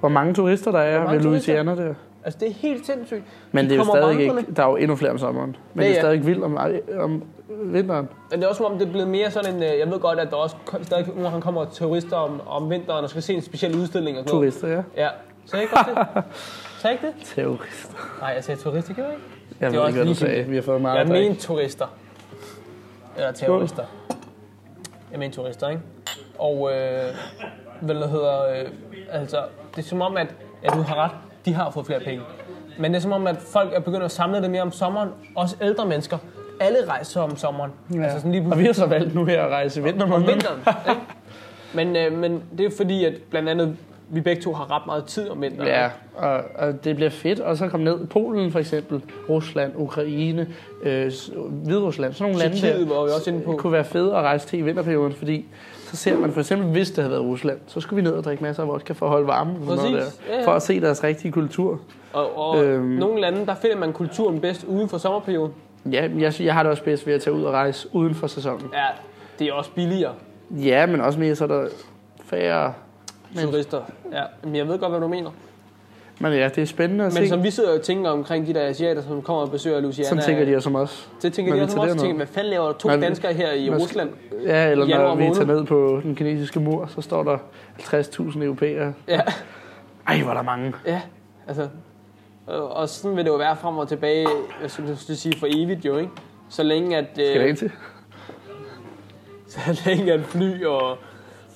Hvor mange turister der er
mange
ved
turister?
Louisiana der.
altså det er helt sindssygt.
Men
De
det er jo
kommer
stadig
vandrende.
ikke, der er jo endnu flere om sommeren. Men
Ja,
det er
ja.
stadig vildt om, om vinteren.
Men det er også som om, det er blevet mere sådan en... øh, Jeg ved godt, at der også ko- stadig nogle gange kommer turister om, om vinteren og skal se en speciel udstilling og sådan noget.
Turister, ja.
Ja. Sagde jeg ikke godt det? Sagde jeg ikke det?
Terrorister.
Nej, jeg sagde turister, gjorde jeg ikke?
Jeg
Det er
ved
også
ikke, hvad du
ligegyldigt.
sagde. Vi har fået meget
Jeg
at drikke.
mente turister. Eller terrorister. Jeg mente turister, ikke? Og øh, hvad det hedder... Øh, altså, det er som om, at ja, du har ret. De har fået flere penge. Men det er som om, at folk er begyndt at samle det mere om sommeren. Også ældre mennesker. Alle rejser om sommeren. Ja. Altså sådan lige på
Og vi har så valgt nu her at rejse i
om
vintermåneden.
vinteren. ikke? men, øh, men det er fordi, at blandt andet vi begge to har ret meget tid om vinteren.
Ja, og, og det bliver fedt. Og så kom ned Polen for eksempel, Rusland, Ukraine, øh, S- Hviderusland. Sådan nogle lande
Tyrkiet
der
var vi også inde på.
kunne være fede at rejse til i vinterperioden, fordi så ser man for eksempel, hvis det havde været Rusland, så skulle vi ned og drikke masser af vodka for at holde varme. og Sådan noget
Præcis, ja,
der,
ja.
for at se deres rigtige kultur.
Og, og øhm.
Øhm.
nogle lande, der finder man kulturen bedst uden for sommerperioden.
Ja, men jeg, sy- jeg har det også bedst ved at tage ud og rejse uden for sæsonen.
Ja, det er også billigere
Ja, men også mere så er der færre...
men. turister. Ja, men jeg ved godt, hvad du mener.
Men ja, det er spændende at
Men
se.
som vi sidder og tænker omkring de der asiater, som kommer og besøger Luciana.
Sådan tænker de også om os.
Det tænker
når
de
vi
også,
tager
også
derned.
tænker, hvad fanden laver der to
Når vi-
danskere her i
Når-
Rusland?
Ja, eller
Januar
når vi
måned.
tager ned på den kinesiske mur, så står der 50.000 europæere.
Ja,
Ej, hvor er der mange.
ja, altså. Og og sådan vil det jo være frem og tilbage, jeg skulle jeg skulle sige for evigt jo, ikke? Så længe at... øh,
Skal det ind til?
<laughs> så længe at fly og,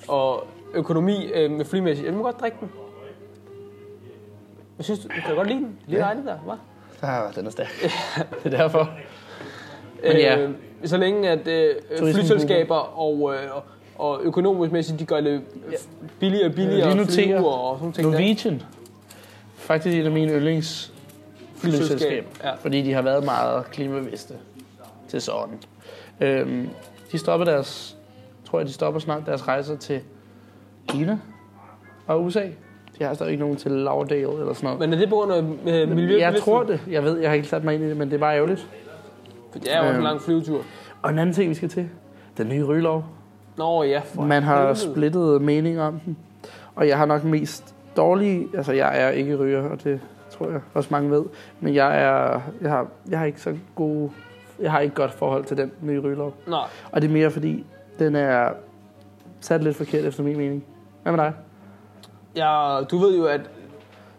og økonomi øh, med flymæssigt. Jeg må godt drikke den. Jeg synes, du, du kan godt lide den. Lige
Ja.
dejligt der, hva'?
Ah, den er stærk. <laughs> det er derfor. Men
Men
ja.
ja. øh, så længe at øh, flyselskaber og, øh, og økonomisk mæssigt, de gør det øh, billigere og billigere
Jeg lige
at flyve
noterer.
og sådan nogle ting. der.
Norwegian. Faktisk et af mine yndlings flyselskaber.
Ja.
fordi de har været meget klimabevidste til sådan. Øhm, de stopper deres, tror jeg, de stopper snart deres rejser til Kina og USA. De har stadig ikke nogen til Lauderdale eller sådan noget.
Men er det på grund af øh, miljø?
jeg tror det. Jeg ved, jeg har ikke sat mig ind i det, men det er bare ærgerligt.
For det er jo også en
Øh.
lang flyvetur.
Og en anden ting, vi skal til. Den nye rygelov.
Nå ja, for
Man har
helvede.
splittet mening om den. Og jeg har nok mest dårlige... Altså, jeg er ikke ryger, og det tror jeg også mange ved. Men jeg, er, jeg, har, jeg har ikke så god... Jeg har ikke godt forhold til den nye rygelov.
Nej,
Og det er mere fordi, den er sat lidt forkert efter min mening. Hvad med dig?
ja, du ved jo, at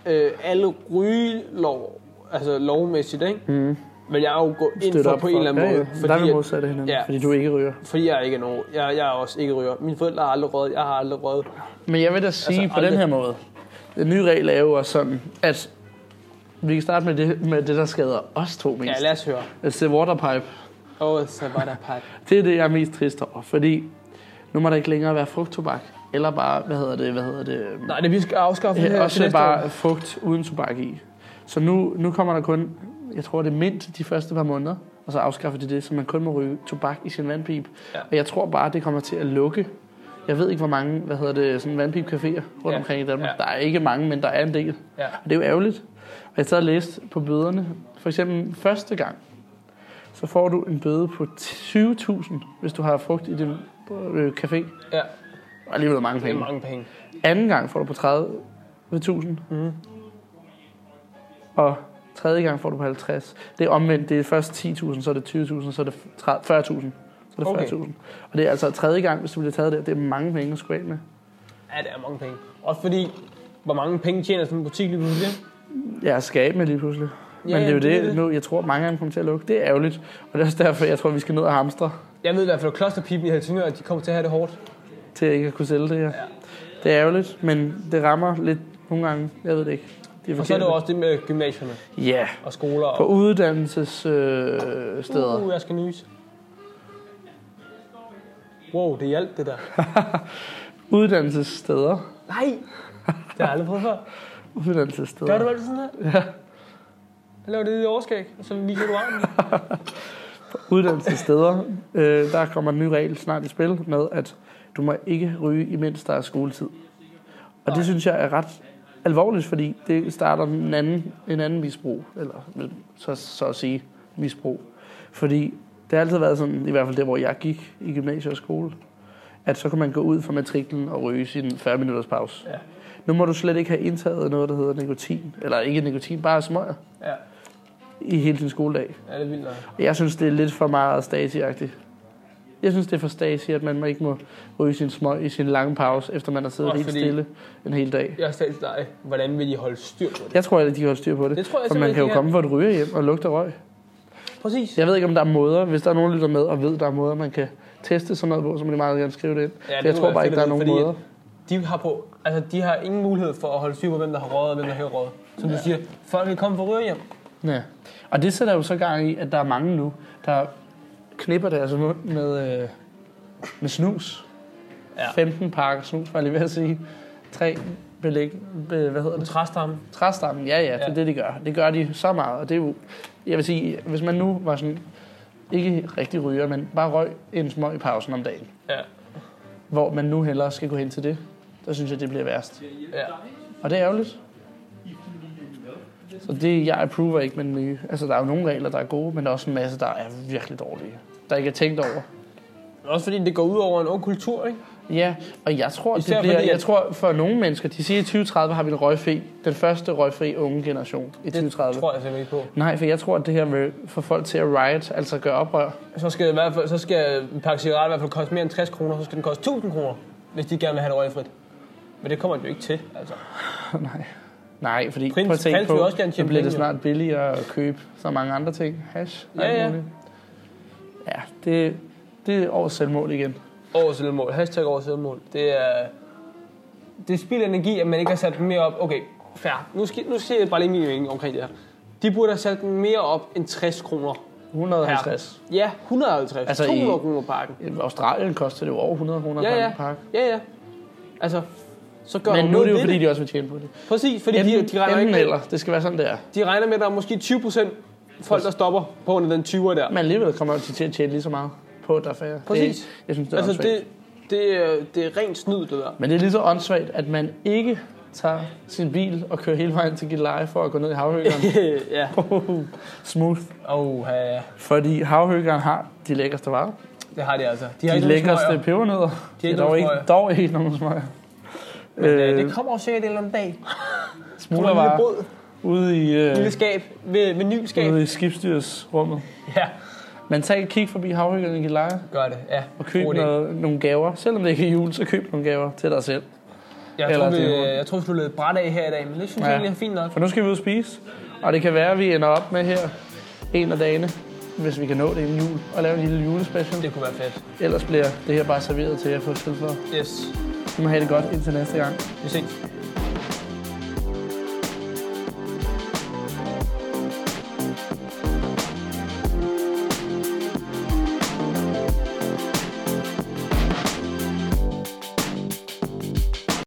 øh, alle rygelov, altså lovmæssigt, ikke?
Mm.
Men jeg er jo gået ind for på en eller anden
ja,
måde.
ja. Fordi der er vi
at-
modsatte hinanden, ja.
ja.
fordi du ikke ryger.
Fordi jeg er ikke er nogen. Jeg, jeg er også ikke ryger. Mine forældre har aldrig røget. Jeg har aldrig røget.
Men jeg vil da sige altså,
Altså,
på den
aldrig-
her måde. Den nye regel er jo også sådan, at vi kan starte med det, med det der skader os to mest.
Ja, lad os høre.
Altså det waterpipe.
Åh, oh,
øh,
så var der pat.
Det er det, jeg er mest trist over, fordi nu må der ikke længere være frugttobak. Eller bare, hvad hedder det, hvad hedder det?
Nej, det vi skal afskaffe Øh, det
Ja,
her
også
til
det
næste
bare
år.
frugt uden tobak i. Så nu, nu kommer der kun, jeg tror det er mindst de første par måneder, og så afskaffer de det, så man kun må ryge tobak i sin vandpip. Ja.
Ja.
Og jeg tror bare, det kommer til at lukke. Jeg ved ikke, hvor mange hvad hedder det, sådan vandpipcaféer rundt ja.
Ja.
omkring i Danmark. Ja.
Ja.
Der er ikke mange, men der er en del.
Ja.
Og det er jo ærgerligt. Og jeg sad og læste på bøderne. For eksempel første gang, så får du en bøde på 20.000, hvis du har frugt i din øh, café.
ja,
Og alligevel mange
det er
penge.
mange penge.
Anden gang får du på 30.000.
Mhm.
Og tredje gang får du på 50. Det er omvendt. Det er først 10.000, så er det 20.000, så er det 30 40.000. Så er det
Okay.
40.000. Og det er altså tredje gang, hvis du bliver taget der. Det er mange penge at skulle af med.
Ja, det er mange penge. Også fordi, hvor mange penge tjener sådan en butik lige pludselig?
Jeg er skab med lige pludselig. Men det er jo
det er
det,
det.
nu, jeg tror, mange af dem kommer til at lukke. Det er ærgerligt. Og det er også derfor, jeg tror, vi skal ned og hamstre,
Jeg ved i hvert fald, at klosterpipen i Helsingør, de kommer til at have det hårdt.
til ikke at kunne sælge det her.
Ja.
Det er ærgerligt, men det rammer lidt nogle gange. Jeg ved det ikke. Det er
Og så er det jo
forkert.
også det med gymnasierne
Ja,
og skoler.
på
Og,
uddannelsessteder. Øh, steder.
uh, jeg skal nyse. Wow, det hjalp det der.
Uddannelsessteder.
Nej, det har jeg aldrig prøvet før.
Uddannelsessteder.
Gør du altid sådan her? Ja. Jeg laver det i overskæg, og så lige du armen.
Uddannelsessteder. øh, der kommer en ny regel snart i spil med, at du må ikke ryge, imens der er skoletid. Og det synes jeg er ret alvorligt, fordi det starter en anden, en anden misbrug. Eller øh, så, så at sige misbrug. Fordi det har altid været sådan, i hvert fald der, hvor jeg gik i gymnasiet og skole, at så kunne man gå ud fra matriklen og ryge sin 40 minutters pause.
Ja.
Nu må du slet ikke have indtaget noget, der hedder nikotin. Eller ikke nikotin, bare smøger
Ja,
i hele din skoledag.
ja det er vildt nok.
Jeg synes, det er lidt for meget stasi -agtigt. Jeg synes, det er for stasi, at man ikke må ryge sin smøg i sin lange pause, efter man har siddet
Også
helt
fordi-
stille en hel dag.
Jeg har stadig til dig, hvordan vil de holde styr på det?
Jeg tror, at de holder styr på det.
Det tror jeg
for man
simpelthen,
kan jo
de kan.
komme for et ryge hjem og lugte af røg.
Præcis.
Jeg ved ikke, om der er måder. Hvis der er nogen, der lytter med og ved, der er måder, man kan teste sådan noget på, så må de meget gerne skrive det ind.
Ja,
For
det
jeg
kunne
tror
være
bare
fedt
ikke, der er
at
nogen
vide, fordi
måder.
De har, på, altså, de har ingen mulighed for at holde styr på, hvem der har røget og hvem der ikke har røget. Som du siger, folk vil komme for ryger hjem.
Ja. Og det sætter jo så gang i, at der er mange nu, der knipper deres mund med, øh, med snus.
Ja.
15 pakker snus, var jeg lige ved at sige. Tre belæg, be, hvad hedder
Du
det?
træster ham.
Træstammen, ja, ja, det er
Ja.
det, de gør. Det gør de så meget, og det er jo... Jeg vil sige, hvis man nu var sådan... Ikke rigtig ryger, men bare røg en smøg i pausen om dagen.
Ja.
Hvor man nu hellere skal gå hen til det. Så synes jeg, det bliver værst.
ja.
Og det er ærgerligt. Så det, jeg approver ikke med den nye. Altså, der er jo nogle regler, der er gode, men der er også en masse, der er virkelig dårlige. Der ikke er tænkt over.
Men også fordi det går ud over en ung kultur, ikke?
Ja, og jeg tror, det
Især
bliver,
fordi, at-
jeg tror for nogle mennesker, de siger, at i 2030 har vi en røgfri, den første røgfri unge generation i
Det
2030.
tror jeg simpelthen ikke på.
Nej, for jeg tror, at det her vil få folk til at riot, altså gøre oprør.
Så skal, i hvert fald, så skal en pakke cigaretter i hvert fald koste mere end 60 kroner, så skal den koste 1000 kroner, hvis de gerne vil have det røgfrit. Men det kommer de jo ikke til, altså.
Nej. Nej, fordi
Prins-
prøv at tænke
Prins vil
på,
også gerne
så
tjene
bliver det
penge, jo.
snart billigere at købe så mange andre ting. Hash,
Ja,
alt
ja.
muligt. Ja, det, det er årets selvmål igen.
Over selvmål. Hashtag over selvmål. Det er... Det er spild af energi, at man ikke har sat dem mere op. Okay, fair. Nu, skal, nu siger jeg bare lige min mening omkring det her. De burde have sat den mere op end 60 kroner.
150.
Ja, 150.
Altså
Altså
i-
200 kroner pakken.
I Australien koster det jo over 100 kroner
Ja,
ja,
ja.
ja. pakke.
Ja, ja. Altså, så gør
Men
du
nu er det jo
ved
fordi, de også vil tjene på det.
Præcis, fordi
Enten,
de, de, regner
enten
ikke,
eller. Det skal være sådan, det er.
de regner med, at der er måske 20 procent folk, der stopper på under den 20'er der.
Men alligevel kommer de til at tjene lige så meget på, at der er færre.
Præcis.
Det, jeg synes, det er
Altså,
altså,
det, det, er- det er rent snyd, det der. <laughs>
Men det er lige så åndssvagt, at man ikke tager sin bil og kører hele vejen til Gilleleje for at gå ned i
<laughs>
havhøgeren.
ja.
Smooth.
Oh, ja.
Fordi havhøgeren har de lækkerste varer.
Det har de altså. De har
De
ikke
lækkerste
nogen smøger,
pebernødder.
De har ikke
dog,
nogen
ikke,
smøger.
dog ikke nogen smøger.
men, øh,
Øh,
det kommer jo sikkert en eller anden dag. På en lille
smuglervarer
båd,
ude i,
lille
øh,
skab, ved, menukskab.
ude i skibsdyrsrummet.
Ja,
Men tag et kig forbi havhøgeren i Gilleleje
gør det. Ja.
og køb
God idé.
noget, nogle gaver. Selvom det ikke er jul, så køb nogle gaver til dig selv.
Jeg
Eller
tror, vi,
det er-
jeg tror, vi sluttede bræt af her i dag, men det synes
Ja.
jeg egentlig er fint nok.
For nu skal vi ud og spise, og det kan være, at vi ender op med her en af dagene, hvis vi kan nå det inden jul, og lave en lille julespecial.
Det kunne være fedt.
Ellers bliver det her bare serveret til jer for at
Yes,
Så må have det godt indtil næste gang.
vi ses.